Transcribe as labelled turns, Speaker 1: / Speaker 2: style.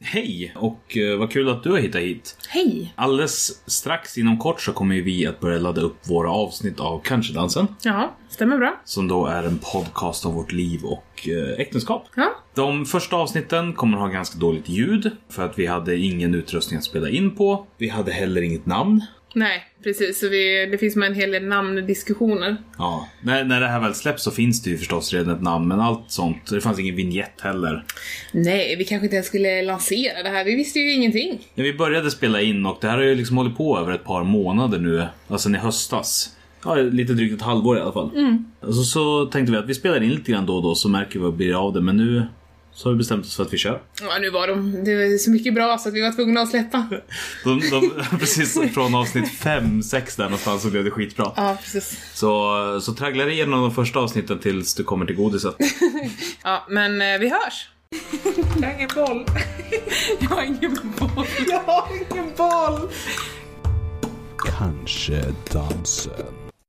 Speaker 1: Hej och eh, vad kul att du har hittat hit.
Speaker 2: Hej!
Speaker 1: Alldeles strax inom kort så kommer ju vi att börja ladda upp våra avsnitt av Cancerdansen.
Speaker 2: Ja, stämmer bra.
Speaker 1: Som då är en podcast om vårt liv och eh, äktenskap.
Speaker 2: Ja,
Speaker 1: De första avsnitten kommer ha ganska dåligt ljud. För att vi hade ingen utrustning att spela in på. Vi hade heller inget namn.
Speaker 2: nej, precis. Så vi, det finns med en hel del namndiskussioner.
Speaker 1: Ja, när, när det här väl släpps så finns det ju förstås redan ett namn. Men allt sånt. Det fanns ingen vignett heller.
Speaker 2: Nej, vi kanske inte ens skulle lansera det här. Vi visste ju ingenting.
Speaker 1: När vi började spela in och det här har ju liksom hållit på över ett par månader nu. Alltså i höstas. Ja, lite drygt ett halvår i alla fall. Alltså, så tänkte vi att vi spelar in lite grann då och då så märker vi vad det blir av det. Men nu så har vi bestämt oss för att vi kör.
Speaker 2: Ja, nu var de det var så mycket bra så att vi var tvungna att släppa.
Speaker 1: De, de, precis från avsnitt 5, 6 där någonstans så blev det skitbra.
Speaker 2: Ja, precis.
Speaker 1: Så, så traggla dig igenom de första avsnitten tills du kommer till godiset.
Speaker 2: Ja, men eh, vi hörs!
Speaker 3: Jag har ingen boll.
Speaker 2: Jag har ingen boll.
Speaker 3: Jag har ingen boll.
Speaker 4: Kanske dansen.